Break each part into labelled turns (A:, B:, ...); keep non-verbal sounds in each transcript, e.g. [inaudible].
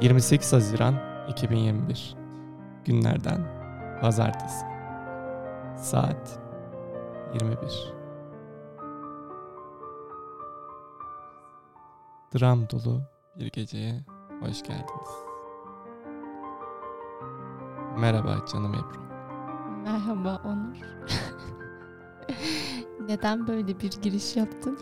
A: 28 Haziran 2021 günlerden pazartesi saat 21 Dram dolu bir geceye hoş geldiniz. Merhaba canım Ebru.
B: Merhaba Onur. [laughs] Neden böyle bir giriş yaptın?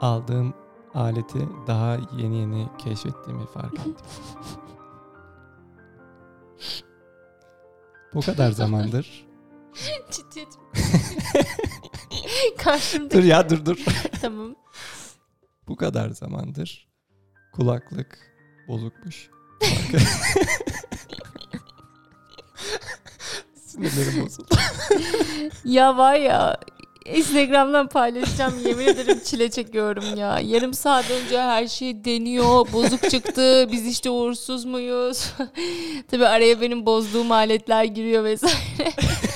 A: Aldığım aleti daha yeni yeni keşfettiğimi fark ettim. Bu kadar zamandır.
B: [laughs] Ciddiyet. [laughs] Karşımda.
A: dur ya dur dur.
B: Tamam.
A: Bu kadar zamandır kulaklık
B: [laughs]
A: bozukmuş. Sinirlerim bozuldu.
B: Ya var ya Instagram'dan paylaşacağım yemin ederim çile çekiyorum ya. Yarım saat önce her şey deniyor. Bozuk çıktı. Biz işte uğursuz muyuz? [laughs] Tabii araya benim bozduğum aletler giriyor vesaire. [laughs]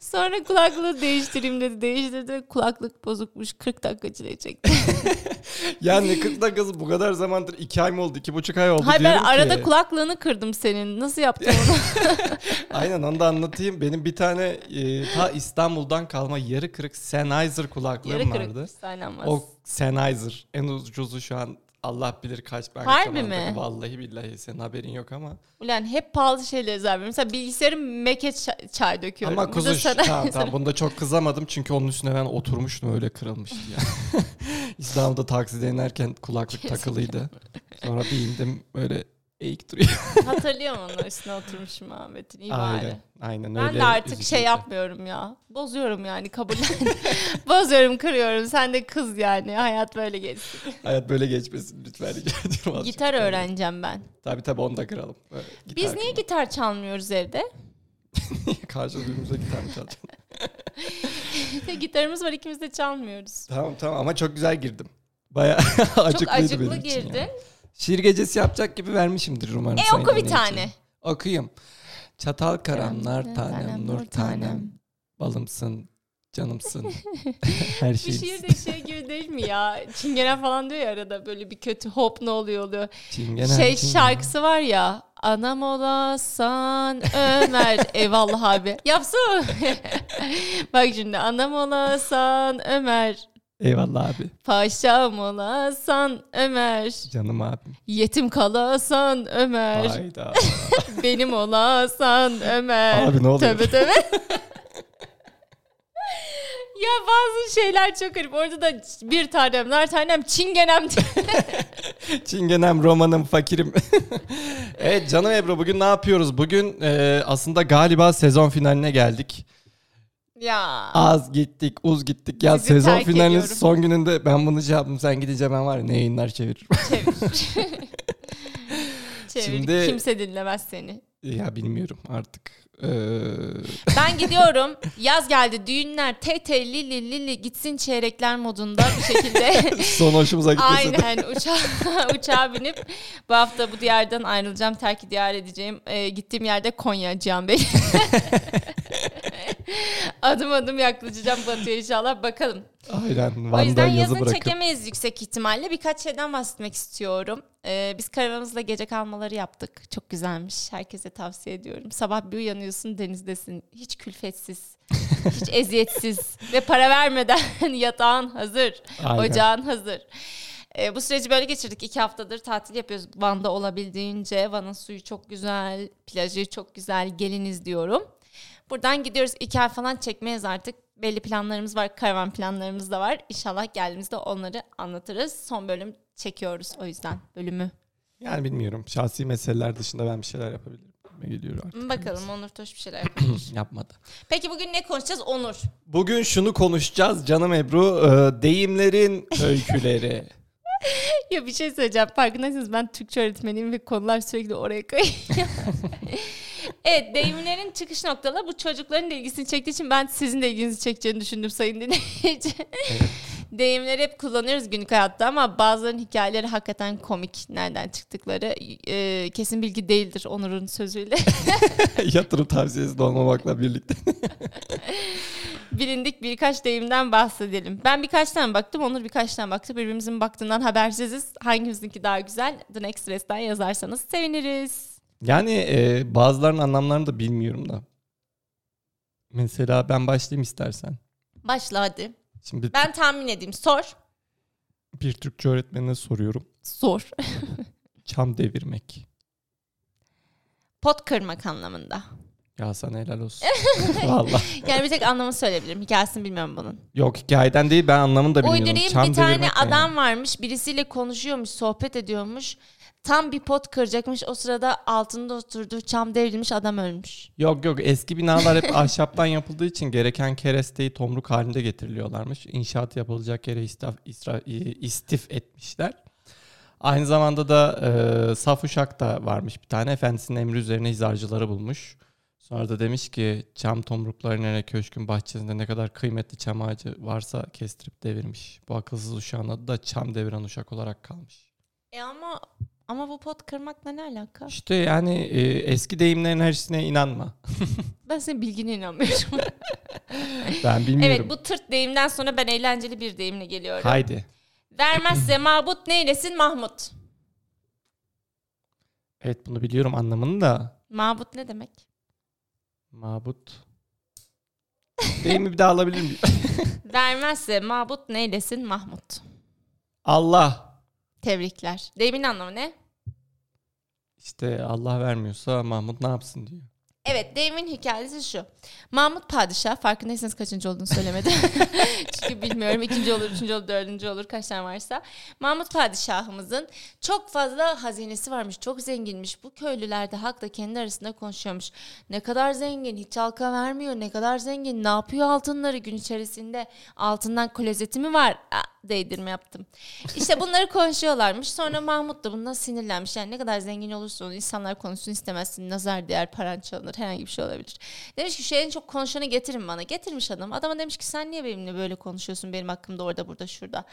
B: Sonra kulaklığı değiştireyim dedi. Değiştirdi. Kulaklık bozukmuş. 40 dakika çile çekti.
A: Yani 40 dakikası bu kadar zamandır 2 ay mı oldu? 2,5 ay oldu
B: Hayır ben
A: diyorum
B: arada
A: ki.
B: kulaklığını kırdım senin.
A: [laughs]
B: Nasıl yaptın onu?
A: Aynen onu da anlatayım. Benim bir tane e, ta İstanbul'dan kalma yarı kırık Sennheiser kulaklığım
B: Yarı
A: vardı.
B: kırık saylanmaz.
A: O Sennheiser en ucuzu şu an Allah bilir kaç ben
B: Harbi
A: zamanda-
B: mi?
A: Vallahi billahi senin haberin yok ama.
B: Ulan hep pahalı şeyler zaten. Mesela bilgisayarım meke çay, çay döküyorum.
A: Ama
B: Burada
A: kuzuş
B: sana- [laughs]
A: tamam tamam bunda çok kızamadım çünkü onun üstüne ben oturmuştum öyle kırılmıştı ya. [laughs] İstanbul'da takside inerken kulaklık takılıydı. Sonra bir indim öyle eğik duruyor.
B: Hatırlıyorum onu üstüne oturmuşum Ahmet'in. iyi bari.
A: Aynen, aynen öyle.
B: Ben de artık şey
A: üzücüydü.
B: yapmıyorum ya. Bozuyorum yani kabul. [laughs] Bozuyorum, kırıyorum. Sen de kız yani. Hayat böyle geçsin.
A: Hayat böyle geçmesin lütfen rica
B: [laughs]
A: ediyorum. azıcık.
B: Gitar öğreneceğim ben.
A: Tabii tabii onu da kıralım. Böyle
B: Biz
A: gitar
B: niye gitar çalmıyoruz evde?
A: kıralım. [laughs] Karşı duyduğumuzda gitar mı çalacağım?
B: Gitarımız var ikimiz de çalmıyoruz.
A: tamam tamam ama çok güzel girdim. Baya [laughs]
B: Çok
A: acıklıydı
B: acıklı
A: benim için ya.
B: girdin.
A: Şiir gecesi yapacak gibi vermişimdir umarım.
B: E
A: sayın
B: oku bir
A: dinleyici.
B: tane.
A: Okuyayım. Çatal karam, nar tanem,
B: Tanem,
A: nur
B: nur tanem.
A: tanem, balımsın,
B: [laughs]
A: canımsın, her
B: Bir
A: şeyimsin.
B: şiir de şey gibi değil mi ya? Çingene falan diyor ya arada böyle bir kötü hop ne oluyor oluyor.
A: Çingene,
B: şey
A: çingene.
B: şarkısı var ya. Anam olasan Ömer. Eyvallah abi. Yapsın. [laughs] Bak şimdi anam olasan Ömer.
A: Eyvallah abi,
B: Paşam olasan Ömer.
A: canım abim.
B: Yetim kalasan Ömer.
A: Hayda.
B: Benim olasan Ömer.
A: Abi ne oluyor?
B: Tövbe tövbe. ya bazı şeyler çok garip. Orada da bir tanem, nar tanem, çingenem diye.
A: Çingenem, romanım,
B: [laughs]
A: fakirim. evet canım Ebru bugün ne yapıyoruz? Bugün e, aslında galiba sezon finaline geldik.
B: ya.
A: Az gittik, uz gittik. Ya
B: Sizi
A: sezon
B: terk
A: finalinin
B: ediyorum.
A: son gününde ben bunu şey yaptım. Sen gideceğim ben var ya ne yayınlar çeviririm. [laughs]
B: Çevir. Çevir.
A: Şimdi-
B: Kimse dinlemez seni.
A: ya bilmiyorum artık. Ee,
B: Ben gidiyorum. Yaz geldi. Düğünler te te li li li li gitsin çeyrekler modunda bir şekilde.
A: Son hoşumuza gitmesi. de.
B: Aynen uçağa, [laughs] uçağa binip bu hafta bu diyardan ayrılacağım. Terki diyar edeceğim. Ee, gittiğim yerde Konya Cihan Bey. [laughs] adım adım yaklaşacağım Batı'ya inşallah bakalım.
A: Aynen.
B: O yüzden
A: Van'dan
B: yazın
A: yazı bırakıp.
B: çekemeyiz yüksek ihtimalle. Birkaç şeyden bahsetmek istiyorum. Ee, biz karavanımızla gece kalmaları yaptık. Çok güzelmiş. Herkese tavsiye ediyorum. Sabah bir uyanıyorsun denizdesin. Hiç külfetsiz,
A: [laughs]
B: hiç eziyetsiz ve para vermeden [laughs] yatağın hazır,
A: Aynen.
B: ocağın hazır. Ee, bu süreci böyle geçirdik. İki haftadır tatil yapıyoruz Van'da olabildiğince. Van'ın suyu çok güzel, plajı çok güzel. Geliniz diyorum. Buradan gidiyoruz. İki ay falan çekmeyiz artık. Belli planlarımız var. Karavan planlarımız da var. İnşallah geldiğimizde onları anlatırız. Son bölüm çekiyoruz o yüzden bölümü.
A: Yani bilmiyorum. Şahsi meseleler dışında ben bir şeyler yapabilirim. Ne geliyor artık.
B: Bakalım Onur Toş bir şeyler yapalım. [laughs]
A: Yapmadı.
B: Peki bugün ne konuşacağız Onur?
A: Bugün şunu konuşacağız canım Ebru. e, deyimlerin [laughs] öyküleri.
B: Ya bir şey söyleyeceğim. Farkındaysanız ben Türkçe öğretmeniyim ve konular sürekli oraya kayıyor. [laughs] evet deyimlerin çıkış noktaları bu çocukların da ilgisini çektiği için ben sizin de ilginizi çekeceğini düşündüm sayın dinleyici. [laughs] Deyimleri hep kullanıyoruz günlük hayatta ama bazılarının hikayeleri hakikaten komik. Nereden çıktıkları e, kesin bilgi değildir Onur'un sözüyle. [laughs]
A: Yatırım tavsiyesi de olmamakla birlikte.
B: bilindik birkaç deyimden bahsedelim. Ben birkaç tane baktım, Onur birkaç tane baktı. Birbirimizin baktığından habersiziz. Hangimizinki daha güzel? The Next Best'ten yazarsanız seviniriz.
A: Yani e, bazılarının anlamlarını da bilmiyorum da. Mesela ben başlayayım istersen.
B: Başla hadi.
A: Şimdi
B: Ben tahmin edeyim. Sor.
A: bir Türkçe öğretmenine soruyorum.
B: Sor.
A: Çam devirmek.
B: Pot kırmak anlamında.
A: Ya sana helal
B: [laughs]
A: olsun. Valla.
B: Yani bir tek anlamı söyleyebilirim. Hikayesini bilmiyorum bunun.
A: Yok hikayeden değil ben anlamını da bilmiyorum.
B: Uydurayım
A: Çam
B: bir tane
A: devirmek ne
B: adam
A: yani?
B: varmış. Birisiyle konuşuyormuş, sohbet ediyormuş. Tam bir pot kıracakmış. O sırada altında oturduğu çam devrilmiş adam ölmüş.
A: Yok yok eski binalar hep ahşaptan yapıldığı için gereken keresteyi tomruk halinde getiriliyorlarmış. İnşaat yapılacak yere istif, istif etmişler. Aynı zamanda da e, saf uşak da varmış bir tane. Efendisinin emri üzerine hizarcıları bulmuş. Sonra da demiş ki çam tomruklarının yerine köşkün bahçesinde ne kadar kıymetli çam ağacı varsa kestirip devirmiş. Bu akılsız uşağın adı da çam deviren uşak olarak kalmış.
B: E ama ama bu pot kırmakla ne alaka?
A: İşte yani e, eski deyimlerin hepsine inanma.
B: Ben senin bilgine inanmıyorum. [laughs]
A: Ben bilmiyorum.
B: evet bu tırt deyimden sonra ben eğlenceli bir deyimle geliyorum.
A: Haydi.
B: Vermezse mabut neylesin Mahmut?
A: Evet bunu biliyorum anlamını da.
B: Mabut ne demek?
A: Mabut. Deyimi bir daha alabilir miyim? [laughs]
B: Vermezse mabut neylesin Mahmut?
A: Allah.
B: Tebrikler. Deyimin anlamı ne?
A: İşte Allah vermiyorsa Mahmut ne yapsın diyor.
B: Evet deyimin hikayesi şu. Mahmut Padişah farkındaysanız kaçıncı olduğunu [laughs] söylemedi. Çünkü bilmiyorum ikinci olur, üçüncü olur, dördüncü olur kaç tane varsa. Mahmut Padişahımızın çok fazla hazinesi varmış, çok zenginmiş. Bu köylüler de halkla kendi arasında konuşuyormuş. Ne kadar zengin, hiç halka vermiyor, ne kadar zengin, ne yapıyor altınları gün içerisinde? Altından klozeti mi var? Aa, değdirme yaptım. İşte bunları konuşuyorlarmış. Sonra Mahmut da bundan sinirlenmiş. Yani ne kadar zengin olursun insanlar konuşsun istemezsin. Nazar değer, paran çalınır. Herhangi bir şey olabilir. Demiş ki şu en çok konuşanı getirin bana. Getirmiş adam. Adama demiş ki sen niye benimle böyle konuşuyorsun benim hakkımda orada burada şurada.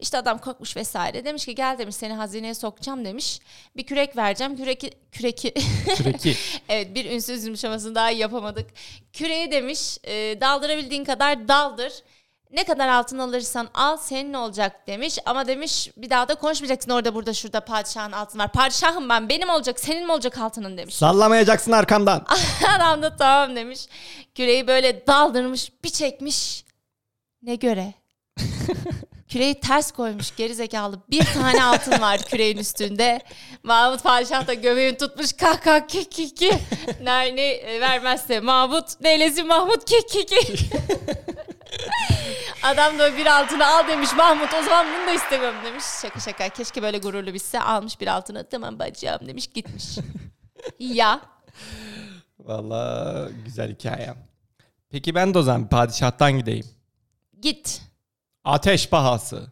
B: İşte adam korkmuş vesaire. Demiş ki gel demiş seni hazineye sokacağım demiş. Bir kürek vereceğim. Küreki, küreki [laughs]
A: Süreki.
B: Evet bir ünsüz yumuşamasını daha iyi yapamadık. Küreğe demiş e, daldırabildiğin kadar daldır. Ne kadar altın alırsan al senin olacak demiş. Ama demiş bir daha da konuşmayacaksın orada burada şurada padişahın altın var. Padişahım ben benim olacak senin mi olacak altının
A: [laughs]
B: demiş.
A: Sallamayacaksın arkamdan.
B: Adam da tamam demiş. Küreği böyle daldırmış bir çekmiş. Ne göre? Küreği ters koymuş gerizekalı. Bir tane altın var küreğin üstünde. Mahmut Padişah da göbeğini tutmuş. Kah kah ki ki ki. Nerni e, vermezse Mahmut neylesi Mahmut ki ki ki. Adam da bir altını al demiş Mahmut o zaman bunu da istemiyorum demiş. Şaka şaka keşke böyle gururlu bitse almış bir altını tamam bacağım demiş gitmiş. ya
A: Valla güzel hikaye. Peki ben de o zaman padişahtan gideyim.
B: git.
A: Ateş pahası.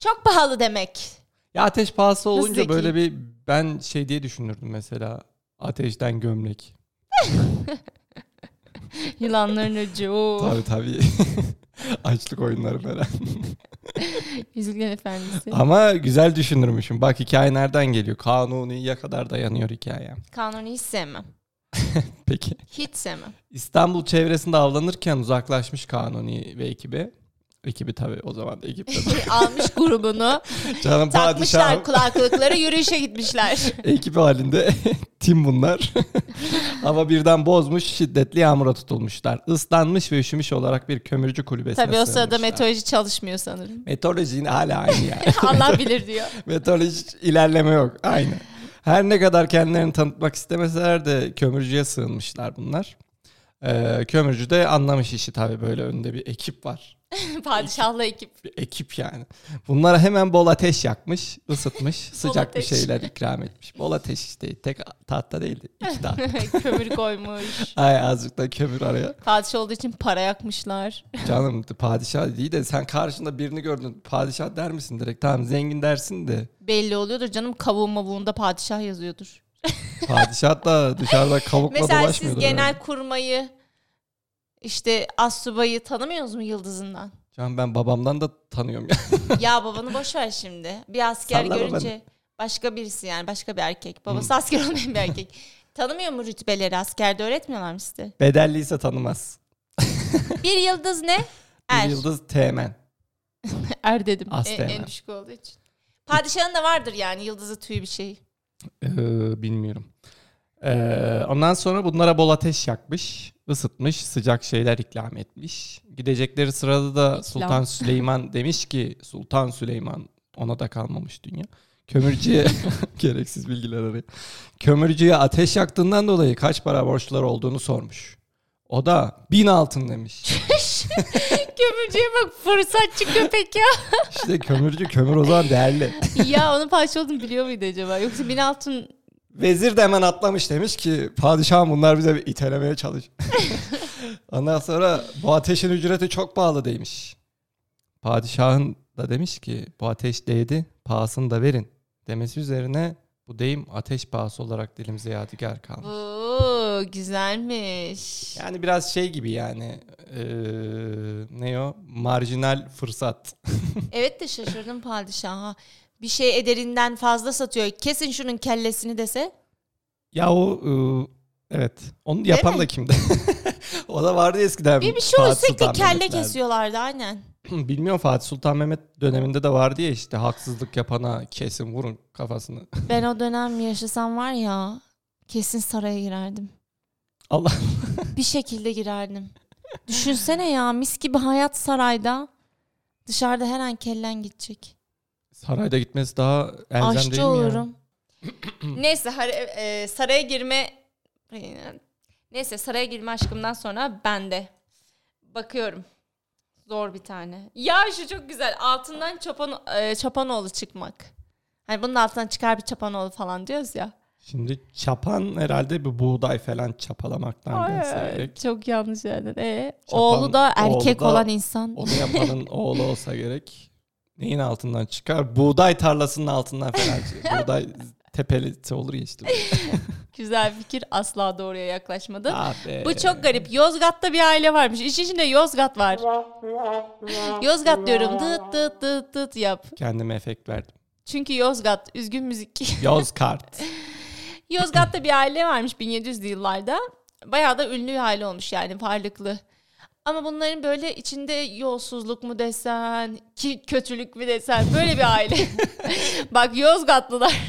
B: Çok pahalı demek.
A: Ya ateş pahası
B: Nasıl
A: olunca
B: zeki?
A: böyle bir ben şey diye düşünürdüm mesela. Ateşten gömlek.
B: Yılanların ucu.
A: Tabii tabii. [laughs] Açlık oyunları falan.
B: Yüzüklerin Efendisi.
A: Ama güzel düşünürmüşüm. Bak hikaye nereden geliyor? Kanuni'ye kanuna kadar dayanıyor hikaye.
B: Kanuni hiç sevmem.
A: Peki.
B: Hiç sevmem.
A: İstanbul çevresinde avlanırken uzaklaşmış Kanuni ve ekibi. Ekibi tabii o zaman da ekip tabii.
B: Almış grubunu.
A: Canım
B: [laughs] takmışlar
A: [laughs] padişahım.
B: kulaklıkları
A: [laughs]
B: yürüyüşe gitmişler.
A: Ekip halinde [laughs] tim
B: [laughs]
A: bunlar. Ama birden bozmuş şiddetli yağmura tutulmuşlar. Islanmış ve üşümüş olarak bir kömürcü kulübesine
B: Tabii o sırada
A: sığınmışlar.
B: meteoroloji çalışmıyor sanırım.
A: Meteoroloji yine hala aynı yani.
B: [laughs] Allah bilir diyor.
A: Meteoroloji hiç ilerleme yok. Aynı. Her ne kadar kendilerini tanıtmak istemeseler de kömürcüye sığınmışlar bunlar. Ee, kömürcü de anlamış işi tabii böyle önde bir ekip var.
B: Padişahla [laughs] ekip.
A: bir ekip yani. Bunlara hemen bol ateş yakmış,
B: [laughs]
A: ısıtmış, sıcak bir
B: ateş.
A: şeyler ikram etmiş. Bol ateş işte tek tahta değildi,
B: [laughs]
A: iki tahta.
B: Kömür koymuş.
A: Ay azıcık da kömür araya.
B: Padişah olduğu için para yakmışlar.
A: Canım padişah değil de sen karşında birini gördün padişah der misin direkt? Tamam zengin dersin de
B: Belli oluyordur canım kavuğun mavuğunda padişah yazıyordur.
A: padişah da dışarıda kavukla
B: Mesela siz
A: dolaşmıyordur.
B: genel
A: herhalde.
B: kurmayı işte astsubayı tanımıyorsunuz mu yıldızından?
A: Canım ben babamdan da tanıyorum [laughs] ya.
B: ya babanı boş ver şimdi. Bir asker
A: Salla
B: görünce
A: babanı. Hmm.
B: başka birisi yani başka bir erkek. Babası asker olmayan bir erkek. Tanımıyor mu rütbeleri askerde öğretmiyorlar mı size?
A: Bedelliyse tanımaz.
B: Bir yıldız ne? Er.
A: Bir yıldız teğmen.
B: Er dedim.
A: Az
B: En,
A: teğmen.
B: en düşük olduğu için. Padişahın da vardır yani yıldızı tüy bir şey.
A: Ee, bilmiyorum. Ee, ondan sonra bunlara bol ateş yakmış, ısıtmış, sıcak şeyler ikram etmiş. Gidecekleri sırada da
B: İkram.
A: Sultan Süleyman demiş ki Sultan Süleyman ona da kalmamış dünya. Kömürcüye [laughs] gereksiz bilgiler arıyor. Kömürcüye ateş yaktığından dolayı kaç para borçları olduğunu sormuş. O da bin altın demiş.
B: [laughs] Kömürcüye bak fırsatçı köpek ya.
A: İşte kömürcü kömür o zaman değerli.
B: ya onun parça olduğunu biliyor muydu acaba? Yoksa bin altın
A: Vezir de hemen atlamış demiş ki padişahım bunlar bize bir itelemeye
B: [laughs]
A: çalış. Ondan sonra bu ateşin ücreti çok pahalı demiş. Padişahın da demiş ki bu ateş değdi pahasını da verin demesi üzerine bu deyim ateş pahası olarak dilimize yadigar kalmış.
B: Oo, güzelmiş.
A: Yani biraz şey gibi yani eee, ne o marjinal fırsat.
B: Evet de şaşırdım padişaha. Bir şey ederinden fazla satıyor. Kesin şunun kellesini dese.
A: Ya o eee, evet onu yapan
B: mi?
A: da kimdi? [laughs] o da vardı eskiden.
B: Bir, bir şey oluyor
A: Fatih
B: sürekli
A: Sultan
B: kelle
A: Mehmetler'de.
B: kesiyorlardı aynen.
A: Bilmiyorum Fatih Sultan Mehmet döneminde de vardı ya işte haksızlık yapana kesin vurun kafasını. [laughs]
B: Ben o dönem yaşasam var ya kesin saraya girerdim.
A: Allah
B: Bir şekilde girerdim. Düşünsene ya mis gibi hayat sarayda. Dışarıda her an kellen gidecek.
A: sarayda gitmesi daha elzem değil mi
B: Aşçı
A: ya? [clears throat]
B: olurum. Neyse har- e, saraya girme Neyse saraya girme aşkımdan sonra ben de bakıyorum. Zor bir tane. Ya şu çok güzel. Altından çapan e, çapanoğlu çıkmak. Hani bunun altından çıkar bir çapanoğlu falan diyoruz ya.
A: Şimdi çapan herhalde bir buğday falan çapalamaktan
B: Ay,
A: gelse
B: çok yanlış yani. E,
A: Çapan-
B: oğlu da erkek
A: oğlu da-
B: olan insan.
A: Onu
B: [laughs]
A: yapanın oğlu olsa gerek. Neyin altından çıkar? Buğday tarlasının altından falan.
B: [laughs]
A: çıkar. buğday tepelisi olur ya işte.
B: Güzel fikir asla doğruya yaklaşmadı.
A: Ah be.
B: Bu çok garip. Yozgat'ta bir aile varmış. İş içinde Yozgat var. Yozgat diyorum. Dıt dıt dıt dıt yap.
A: Kendime efekt verdim.
B: Çünkü Yozgat üzgün müzik. [laughs]
A: Yoz kart.
B: Yozgat'ta bir aile varmış 1700'lü yıllarda. Bayağı da ünlü bir aile olmuş yani varlıklı. Ama bunların böyle içinde yolsuzluk mu desen, ki kötülük mü desen böyle bir aile. Bak Yozgatlılar,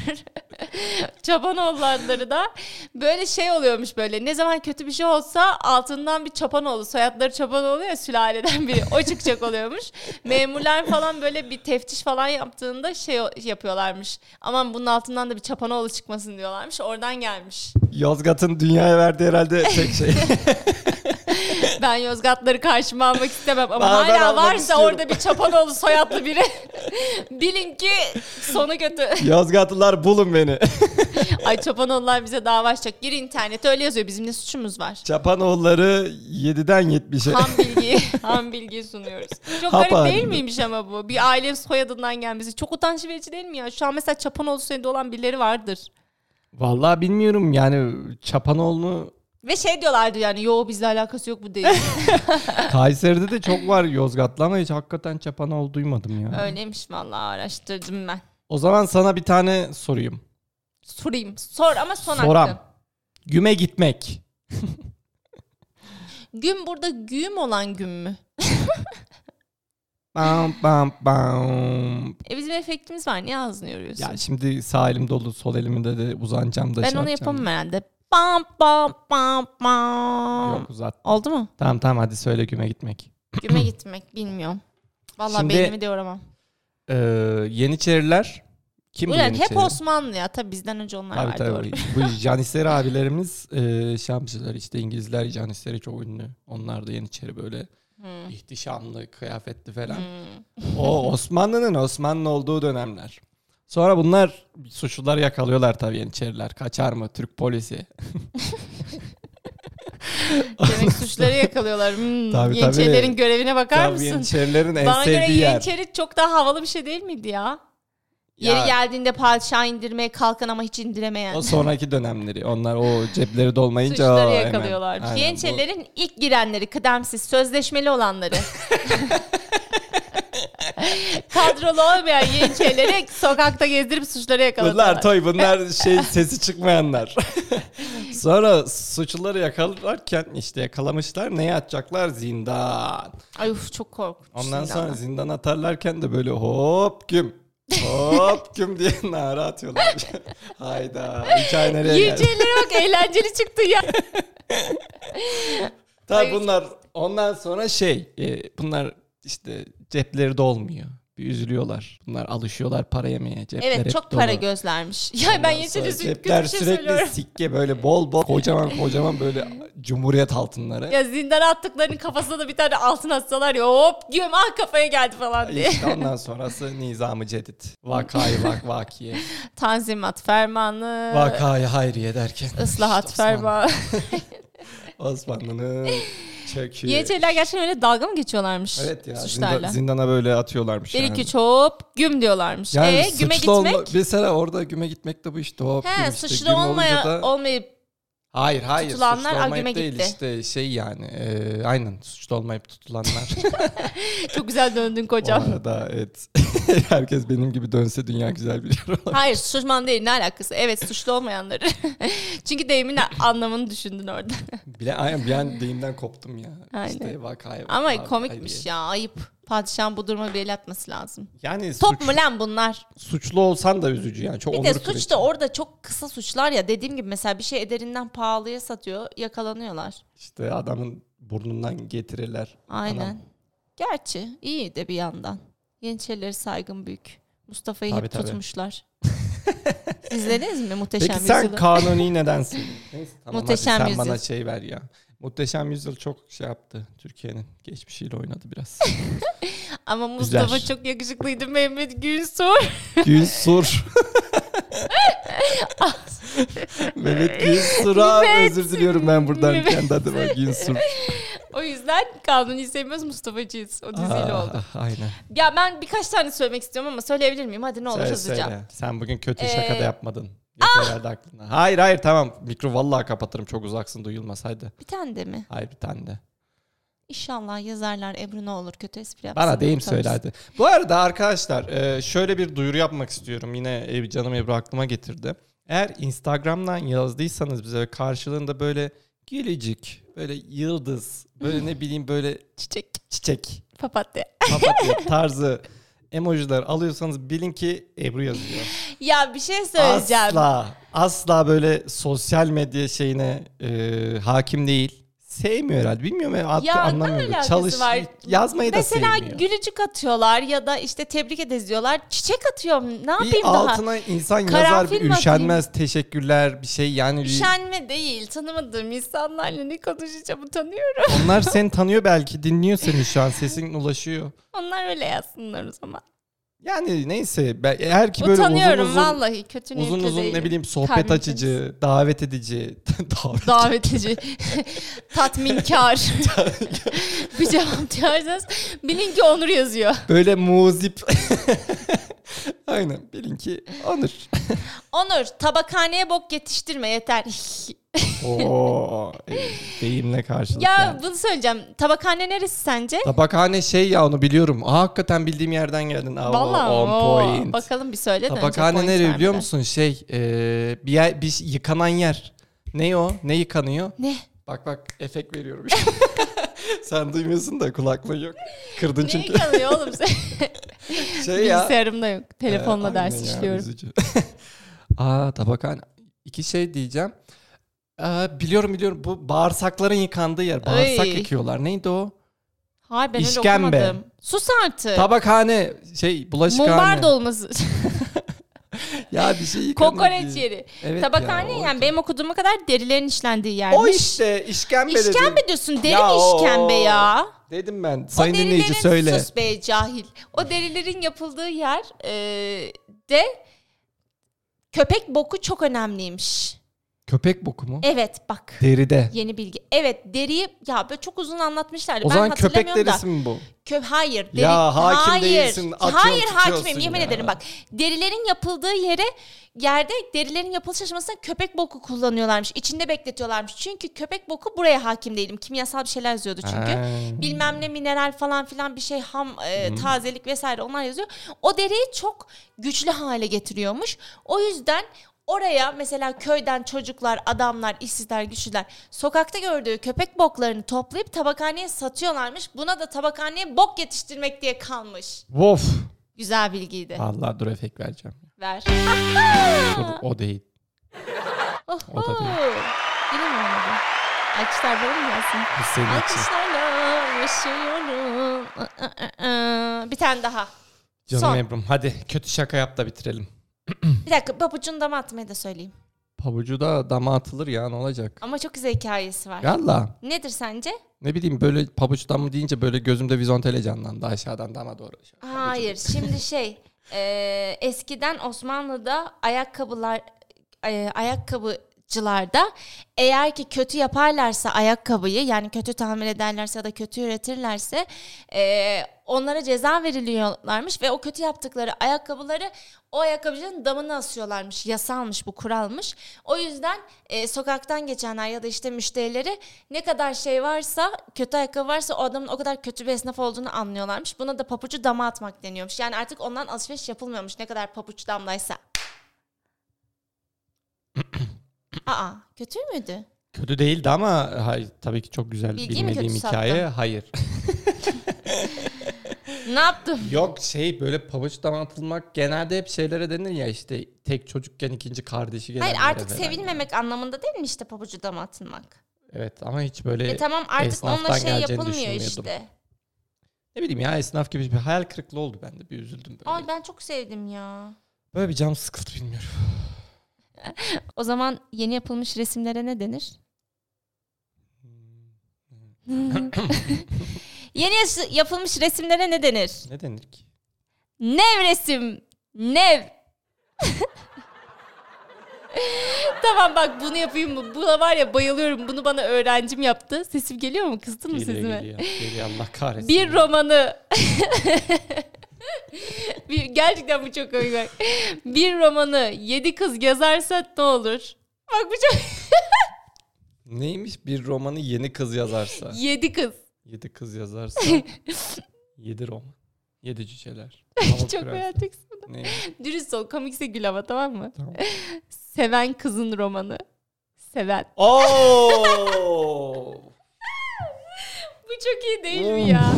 B: Çapanoğulları da böyle şey oluyormuş böyle. Ne zaman kötü bir şey olsa altından bir Çapanoğlu, soyadları Çapanoğlu ya sülaleden biri o çıkacak oluyormuş. Memurlar falan böyle bir teftiş falan yaptığında şey o- yapıyorlarmış. Aman bunun altından da bir Çapanoğlu çıkmasın diyorlarmış. Oradan gelmiş.
A: Yozgat'ın dünyaya verdiği herhalde tek
B: [laughs]
A: şey.
B: Ben Yozgatları karşıma almak istemem ama
A: Ben- ben
B: hala
A: almak
B: varsa
A: istiyorum.
B: orada bir Çapanoğlu soyadlı biri bilin ki sonu kötü.
A: Yozgatlılar bulun beni.
B: Ay Çapanoğlular bize dava açacak. Gir internete öyle yazıyor. Bizim ne suçumuz var?
A: Çapanoğulları 7'den 70'e.
B: Ham bilgiyi, [laughs] ham bilgiyi sunuyoruz. Çok
A: Hap
B: garip değil
A: halinde.
B: miymiş ama bu? Bir aile soyadından gelmesi. Çok utanç verici değil mi ya? Şu an mesela Çapanoğlu soyadı olan birileri vardır.
A: Vallahi bilmiyorum yani Çapanoğlu'nu
B: Ve şey diyorlardı yani yo bizle alakası
A: [laughs]
B: yok bu değil.
A: Kayseri'de de çok var Yozgatlı ama hiç hakikaten Çapanoğlu duymadım ya.
B: Öyleymiş vallahi araştırdım ben.
A: O zaman sana bir tane sorayım.
B: Sorayım. Sor ama son
A: Soram.
B: hakkı.
A: Güme gitmek.
B: Gün burada güğüm olan gün mü?
A: Bam bam bam.
B: E bizim efektimiz var. Niye ağzını yoruyorsun?
A: Ya şimdi sağ elim dolu sol elimde de uzanacağım da
B: ben
A: şey
B: onu
A: yapacağım.
B: yapamam herhalde. Bam bam bam bam.
A: Yok uzat. [clears throat]
B: Oldu mu?
A: Tamam tamam hadi söyle güme gitmek.
B: Güme gitmek bilmiyorum. Vallahi
A: Şimdi-
B: beynimi de yoramam.
A: Ee, Yeniçeriler. Kim bu
B: Ulan
A: Yeniçeri?
B: hep Osmanlı ya. Tabii bizden önce onlar
A: Tabii
B: vardı.
A: tabii.
B: orada.
A: Bu
B: [laughs]
A: Janiseri abilerimiz e, Şamsılar işte İngilizler Janiseri çok ünlü. Onlar da Yeniçeri böyle
B: Hmm.
A: ihtişamlı, kıyafetli falan. O Osmanlı'nın Osmanlı olduğu dönemler. Sonra bunlar suçlular yakalıyorlar tabii Yeniçeriler. Kaçar mı Türk polisi?
B: Demek
A: [laughs]
B: suçları yakalıyorlar. Hmm,
A: Tabii,
B: Yeniçerilerin
A: tabii.
B: görevine bakar
A: Tabii
B: mısın?
A: Yeniçerilerin en
B: Bana göre
A: sevdiği yer.
B: Yeniçeri çok daha havalı bir şey değil miydi ya?
A: Ya,
B: Yeri geldiğinde padişahı indirmeye kalkan ama hiç indiremeyen.
A: O sonraki dönemleri. Onlar o cepleri dolmayınca o
B: Suçları
A: hemen-
B: yakalıyorlarmış.
A: Aynen, bu- [laughs]
B: Yeniçerilerin ilk girenleri, kıdemsiz, sözleşmeli olanları. [laughs] Kadrolu olmayan yeniçerileri sokakta gezdirip suçları yakaladılar.
A: Bunlar toy
B: [laughs]
A: bunlar şey sesi çıkmayanlar. Sonra suçluları yakalarken işte yakalamışlar neye atacaklar zindan.
B: Ay uf, çok korkunç.
A: Ondan
B: zindanlar.
A: sonra zindan atarlarken de böyle hop güm
B: [laughs]
A: hop güm diye nara atıyorlar. Hayda hikaye nereye geldi?
B: Yeniçerilere bak eğlenceli çıktı ya.
A: Tabii bunlar ondan sonra şey e, bunlar işte cepleri dolmuyor. Bir üzülüyorlar. Bunlar alışıyorlar para yemeye. Cepler
B: Evet
A: hep
B: çok para
A: dolu.
B: gözlermiş. [laughs] Ya ben
A: Sonra
B: yeniçeri üzüntü
A: Cepler
B: kötü bir şey
A: sürekli
B: söylüyorum.
A: sikke böyle bol bol kocaman kocaman böyle cumhuriyet altınları.
B: Ya zindana attıklarının kafasına da bir tane altın atsalar ya hop diyorum ah kafaya geldi falan diye.
A: İşte ondan sonrası nizamı cedid.
B: [laughs]
A: Vakayı vak vakiye.
B: Tanzimat fermanı,
A: Vakayı hayriye derken.
B: ıslahat
A: işte Osmanlı-
B: fermanı.
A: Osmanlı'nın çöküyor.
B: Yeniçeriler gerçekten öyle dalga mı geçiyorlarmış
A: Evet ya zindan,
B: suçlarla?
A: zindana böyle atıyorlarmış.
B: Bir
A: yani.
B: iki çop güm diyorlarmış.
A: Yani
B: e güme gitmek.
A: suçlu olma- mesela orada güme gitmek de bu işte o
B: He
A: güm işte.
B: suçlu
A: Güm
B: olmaya
A: olunca da...
B: olmayıp
A: Hayır hayır
B: tutulanlar
A: suçlu olmayıp
B: güme
A: değil
B: gitti.
A: işte şey yani e, aynen suçlu olmayıp
B: [laughs]
A: tutulanlar.
B: çok güzel döndün
A: Bu
B: kocam.
A: arada
B: [laughs]
A: evet herkes benim gibi dönse dünya güzel bir yer olur.
B: Hayır suçman değil ne alakası? Evet suçlu olmayanları. [laughs] Çünkü deyimin anlamını düşündün orada.
A: Bile, aynen bir an deyimden koptum ya.
B: Aynen.
A: İşte vakaya
B: Ama
A: vakaya,
B: komikmiş
A: hayriye.
B: ya ayıp. Padişahın bu duruma bir el atması lazım.
A: Yani
B: Top
A: suç-
B: mu lan bunlar?
A: suçlu olsan da üzücü yani. Çok
B: Bir
A: onur
B: de suç
A: kırıcı.
B: da orada çok kısa suçlar ya. Dediğim gibi mesela bir şey ederinden pahalıya satıyor. Yakalanıyorlar.
A: İşte adamın burnundan getirirler.
B: Aynen.
A: Anam.
B: Gerçi iyi de bir yandan. Yeniçerilere saygın büyük. Mustafa'yı
A: Tabii,
B: hep
A: tabii.
B: tutmuşlar. [laughs] İzlediniz mi Muhteşem
A: Peki sen
B: Yüzyıl'ı?
A: kanuni nedensin?
B: [laughs]
A: Neyse tamam
B: Muhteşem
A: hadi sen
B: Yüzyıl.
A: bana şey ver ya. Muhteşem Yüzyıl çok şey yaptı. Türkiye'nin geçmişiyle oynadı
B: [laughs]
A: biraz.
B: Ama Mustafa
A: Güzel.
B: çok yakışıklıydı Mehmet Günsur. [laughs]
A: Gülsur. Mehmet Gülsur'a özür diliyorum ben buradan
B: Mehmet.
A: kendi adıma Gülsur.
B: [laughs] o yüzden Kanuni'yi sevmiyoruz Mustafa'cıyız. O diziyle
A: Aa,
B: oldu.
A: Ah, Aynen.
B: Ya ben birkaç tane söylemek istiyorum ama söyleyebilir miyim? Hadi ne olur
A: Söyle,
B: hızlıca.
A: söyle. Sen bugün kötü
B: Ee, Ah!
A: şaka da yapmadın. Yok herhalde aklına. Hayır hayır tamam. Mikro vallahi kapatırım çok uzaksın duyulmaz. Haydi.
B: Bir tane de mi?
A: Hayır bir tane de.
B: İnşallah yazarlar Ebru ne olur kötü espri yapsın.
A: Bana deyim
B: Utanırsın.
A: söyle hadi. Bu arada arkadaşlar e, şöyle bir duyuru yapmak istiyorum. Yine e, canım Ebru aklıma getirdi. Eğer Instagram'dan yazdıysanız bize karşılığında böyle gelecek, böyle yıldız, böyle ne bileyim böyle
B: Çiçek,
A: çiçek,
B: papatya. [laughs]
A: papatya tarzı emojiler alıyorsanız bilin ki Ebru yazıyor.
B: Ya bir şey [laughs] söyleyeceğim.
A: Asla, asla böyle sosyal medya şeyine e, hakim değil. Sevmiyor herhalde. Bilmiyorum ya, artık
B: Ya ne
A: anlamıyorum.
B: alakası
A: Çalış,
B: var?
A: yazmayı da
B: Mesela
A: sevmiyor.
B: gülücük atıyorlar ya da işte tebrik ederiz diyorlar. Çiçek atıyorum. Ne yapayım
A: bir
B: daha?
A: altına insan yazar
B: Karanfil
A: bir
B: mi
A: üşenmez teşekkürler bir şey yani bir-
B: Üşenme değil. Tanımadığım insanlarla ne konuşacağımı tanıyorum.
A: [laughs] onlar seni tanıyor belki dinliyor seni şu an sesin ulaşıyor.
B: Onlar öyle yazsınlar o zaman.
A: Yani neyse ben, eğer ki böyle uzun
B: Utanıyorum
A: uzun
B: vallahi. Kötü niyetli
A: uzun uzun
B: değilim.
A: ne bileyim sohbet
B: Kalbim [laughs]
A: açıcı, davet edici, [laughs] davet
B: Davetici. [laughs] Tatminkar.
A: [laughs]
B: [laughs] bir cevap diyorsanız bilin ki Onur yazıyor.
A: böyle muzip. [laughs] Aynen bilin ki
B: [laughs]
A: Onur.
B: Onur tabakhaneye bok yetiştirme yeter. [laughs]
A: Oo, e, deyimle karşılık.
B: ya
A: yani.
B: bunu söyleyeceğim. Tabakhane neresi sence?
A: Tabakhane şey ya onu biliyorum. Aa, hakikaten bildiğim yerden geldin. Aa,
B: Vallahi
A: on
B: oo.
A: point.
B: Bakalım bir söyle. de önce
A: Tabakhane
B: point
A: nereye biliyor
B: vermeden.
A: musun? Şey e, bir, yer, bir şey- yıkanan yer. Ne o? Ne yıkanıyor?
B: Ne?
A: Bak bak efekt veriyorum. [laughs] Sen duymuyorsun da kulaklığın yok. Kırdın
B: Neye
A: çünkü.
B: kalıyor oğlum
A: [laughs]
B: sen? [laughs]
A: Şey ya.
B: Bilgisayarımda yok. Telefonla
A: Ee,
B: ders
A: aynen ya,
B: işliyorum.
A: üzücü. [laughs] Aa tabakhane. İki şey diyeceğim. Aa, biliyorum biliyorum bu bağırsakların yıkandığı yer. Bağırsak
B: Ay.
A: yıkıyorlar. Neydi o?
B: Hayır ben
A: İşkembe.
B: öyle okumadım. Sus artık.
A: Tabakhane şey bulaşıkhane. [laughs]
B: Mumbar dolması.
A: Ya bir şey yıkanıyor.
B: Kokoreç
A: diye.
B: yeri.
A: Evet
B: Tabakhane
A: ya, o-
B: yani benim okuduğuma kadar derilerin işlendiği yermiş.
A: O işte işkembe, dedim.
B: İşkembe diyorsun. Deri
A: Ya
B: mi
A: o-
B: işkembe ya?
A: Dedim ben.
B: O
A: Sayın dinleyici
B: derilerin
A: söyle.
B: sus be cahil. O derilerin yapıldığı yer e, de köpek boku çok önemliymiş.
A: Köpek boku mu?
B: Evet bak.
A: Deride.
B: Yeni bilgi. Evet deriyi ya böyle çok uzun anlatmışlardı.
A: O
B: ben
A: zaman köpek
B: hatırlamıyorum da.
A: derisi mi bu?
B: Kö hayır. Deri,
A: Ya hakim
B: hayır,
A: değilsin, atıyorsun,
B: Hayır hakimim
A: tutuyorsun
B: yemin
A: ya.
B: ederim bak. Derilerin yapıldığı yere yerde derilerin yapılış aşamasında köpek boku kullanıyorlarmış. İçinde bekletiyorlarmış. Çünkü köpek boku buraya hakim değilim. Kimyasal bir şeyler yazıyordu çünkü.
A: Ha.
B: Bilmem ne mineral falan filan bir şey ham e, tazelik vesaire onlar yazıyor. O deriyi çok güçlü hale getiriyormuş. O yüzden Oraya mesela köyden çocuklar, adamlar, işsizler, güçlüler sokakta gördüğü köpek boklarını toplayıp tabakhaneye satıyorlarmış. Buna da tabakhaneye bok yetiştirmek diye kalmış.
A: Vof.
B: Güzel bilgiydi.
A: Vallahi dur efekt vereceğim.
B: Ver.
A: Dur, o değil. o da
B: Oho. Yine mi olmadı? Alkışlar bana mı gelsin?
A: Bu senin için.
B: Alkışlarla yaşıyorum. Aa, aa, aa. Bir tane daha.
A: Canım
B: Son.
A: Ebru'm hadi kötü şaka yap da bitirelim.
B: Bir dakika pabucunu dama atmayı da söyleyeyim.
A: Pabucu da dama atılır ya ne olacak?
B: Ama çok güzel hikayesi var.
A: Valla
B: Nedir sence?
A: ne bileyim böyle pabucu damı deyince böyle gözümde vizontele canlandı aşağıdan dama doğru.
B: Hayır şimdi şey e, eskiden Osmanlı'da ayakkabılar e, ayakkabıcılarda eğer ki kötü yaparlarsa ayakkabıyı yani kötü tamir ederlerse ya da kötü üretirlerse e, onlara ceza veriliyorlarmış ve o kötü yaptıkları ayakkabıları o ayakkabıcının damına asıyorlarmış. Yasalmış bu kuralmış. O yüzden e, sokaktan geçenler ya da işte müşterileri ne kadar şey varsa kötü ayakkabı varsa o adamın o kadar kötü bir esnaf olduğunu anlıyorlarmış. Buna da papucu dama atmak deniyormuş. Yani artık ondan alışveriş yapılmıyormuş ne kadar papuç
A: [coughs]
B: damlaysa. Aa kötü müydü?
A: Kötü değildi ama hay, tabii ki çok güzel
B: Bilgiyi mi
A: bilmediğim
B: kötü
A: hikaye. Hayır.
B: Ne yaptım?
A: Yok şey böyle pabucu dama atılmak genelde hep şeylere denir ya işte tek çocukken ikinci kardeşi gelenlere
B: Hayır artık
A: falan.
B: sevilmemek anlamında değil mi işte papucu dama atmak?
A: Evet ama hiç böyle
B: E tamam artık
A: esnaftan
B: onunla şey
A: geleceğini
B: yapılmıyor
A: düşünmüyordum.
B: işte.
A: ne bileyim ya esnaf gibi bir hayal kırıklığı oldu bende bir üzüldüm böyle.
B: Ay ben çok sevdim ya.
A: Böyle bir cam sıkıldı bilmiyorum. [laughs]
B: O zaman yeni yapılmış resimlere ne denir?
A: Hmm,
B: [laughs] yeni yaşı- yapılmış resimlere ne denir?
A: Ne denir ki?
B: Nev resim. Nev. [laughs] tamam bak bunu yapayım mı? Buna var ya bayılıyorum. Bunu bana öğrencim yaptı. Sesim geliyor mu? Kızdın mı
A: Geliyor
B: sesime?
A: geliyor. Geliyor Allah kahretsin.
B: Bir romanı [laughs] bir, gerçekten bu çok komik bak. Bir romanı yedi kız yazarsa ne olur? Bak bu çok
A: Neymiş bir romanı yeni kız
B: [laughs]
A: yazarsa?
B: yedi kız.
A: yedi kız yazarsa.
B: [laughs]
A: yedi roman. Yedi cüceler. Pamuk
B: [laughs] Çok
A: Prens.
B: beğeneceksin.
A: Neymiş?
B: Dürüst ol komikse gül ama tamam mı?
A: Tamam.
B: [laughs] Seven kızın romanı. Seven.
A: Oo!
B: Bu çok iyi değil mi ya?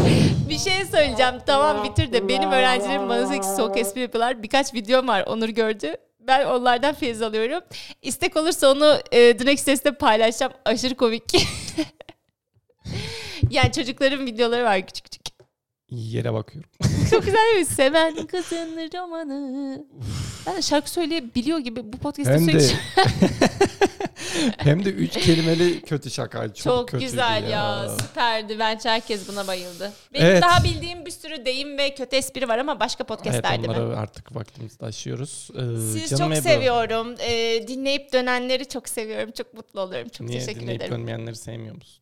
B: Bir şey söyleyeceğim. Tamam bitir de benim öğrencilerim bana sürekli soğuk espri yapıyorlar. Birkaç videom var Onur gördü. Ben onlardan feyiz alıyorum. İstek olursa onu e, Dunex sesle paylaşacağım. Aşırı komik. [laughs] yani çocukların videoları var küçük küçük.
A: İyi yere bakıyorum.
B: Çok güzel değil mi? Seven kızın romanı. Ben de şarkı söyleyebiliyor gibi bu podcast'te
A: Hem de
B: sürekli
A: [laughs] hem de üç kelimeli kötü şaka. Çok,
B: Çok
A: kötüydü
B: güzel ya.
A: ya.
B: süperdi. Bence herkes buna bayıldı. Benim
A: Evet.
B: daha bildiğim bir sürü deyim ve kötü espri var ama başka
A: Evet
B: podcastlerde mi?
A: onları artık vaktimizi aşıyoruz. Ee,
B: Siz
A: canım
B: çok
A: Ebru,
B: seviyorum. Ee, dinleyip dönenleri çok seviyorum. Çok mutlu oluyorum. Çok
A: Niye
B: teşekkür
A: dinleyip
B: ederim.
A: dönmeyenleri sevmiyor musun?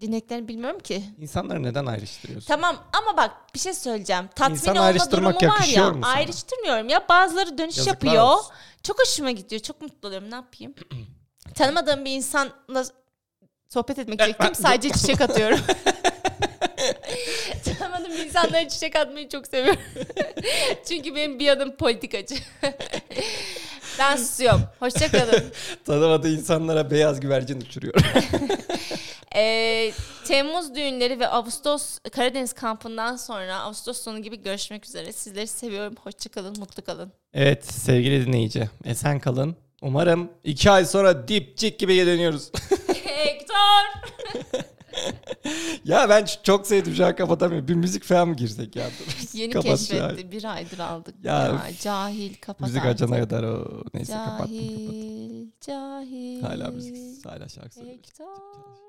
B: Dinleyiklerini bilmiyorum ki.
A: İnsanları neden ayrıştırıyorsun?
B: Tamam ama bak bir şey söyleyeceğim. Tatmin
A: İnsana
B: olma durumu
A: ayrıştırmak
B: var
A: yakışıyor
B: ya.
A: mu sana?
B: Ayrıştırmıyorum ya. Bazıları dönüş
A: Yazıklar
B: yapıyor.
A: olsun.
B: Çok hoşuma gidiyor. Çok mutlu oluyorum. Ne yapayım? [clears throat] Tanımadığım bir insanla [laughs] sohbet etmek diyecektim. Sadece çiçek atıyorum. Tanımadığım bir insanlara çiçek atmayı çok seviyorum. [laughs] Çünkü benim bir adım politikacı. [laughs] ben susuyorum. Hoşçakalın.
A: [laughs] Tanımadığı insanlara beyaz güvercin uçuruyor.
B: Ee, Temmuz düğünleri ve Ağustos Karadeniz kampından sonra Ağustos sonu gibi görüşmek üzere. Sizleri seviyorum. Hoşça kalın, mutlu kalın.
A: [laughs]
B: [laughs]
A: Evet sevgili dinleyici esen kalın. Umarım iki ay sonra dipçik gibi geri dönüyoruz.
B: Hector!
A: [laughs] ya ben ç- çok sevdim şu an kapatamıyorum. Bir müzik falan mı girsek ya? Dur.
B: [laughs] Yeni
A: Kapat ya.
B: keşfetti. Bir aydır aldık.
A: Ya
B: Ya,
A: üf.
B: cahil kapat
A: müzik
B: artık.
A: açana kadar o. Neyse kapattım. kapattım.
B: Cahil, cahil.
A: Hala müzik. Hala şarkı söylüyoruz.
B: Hector.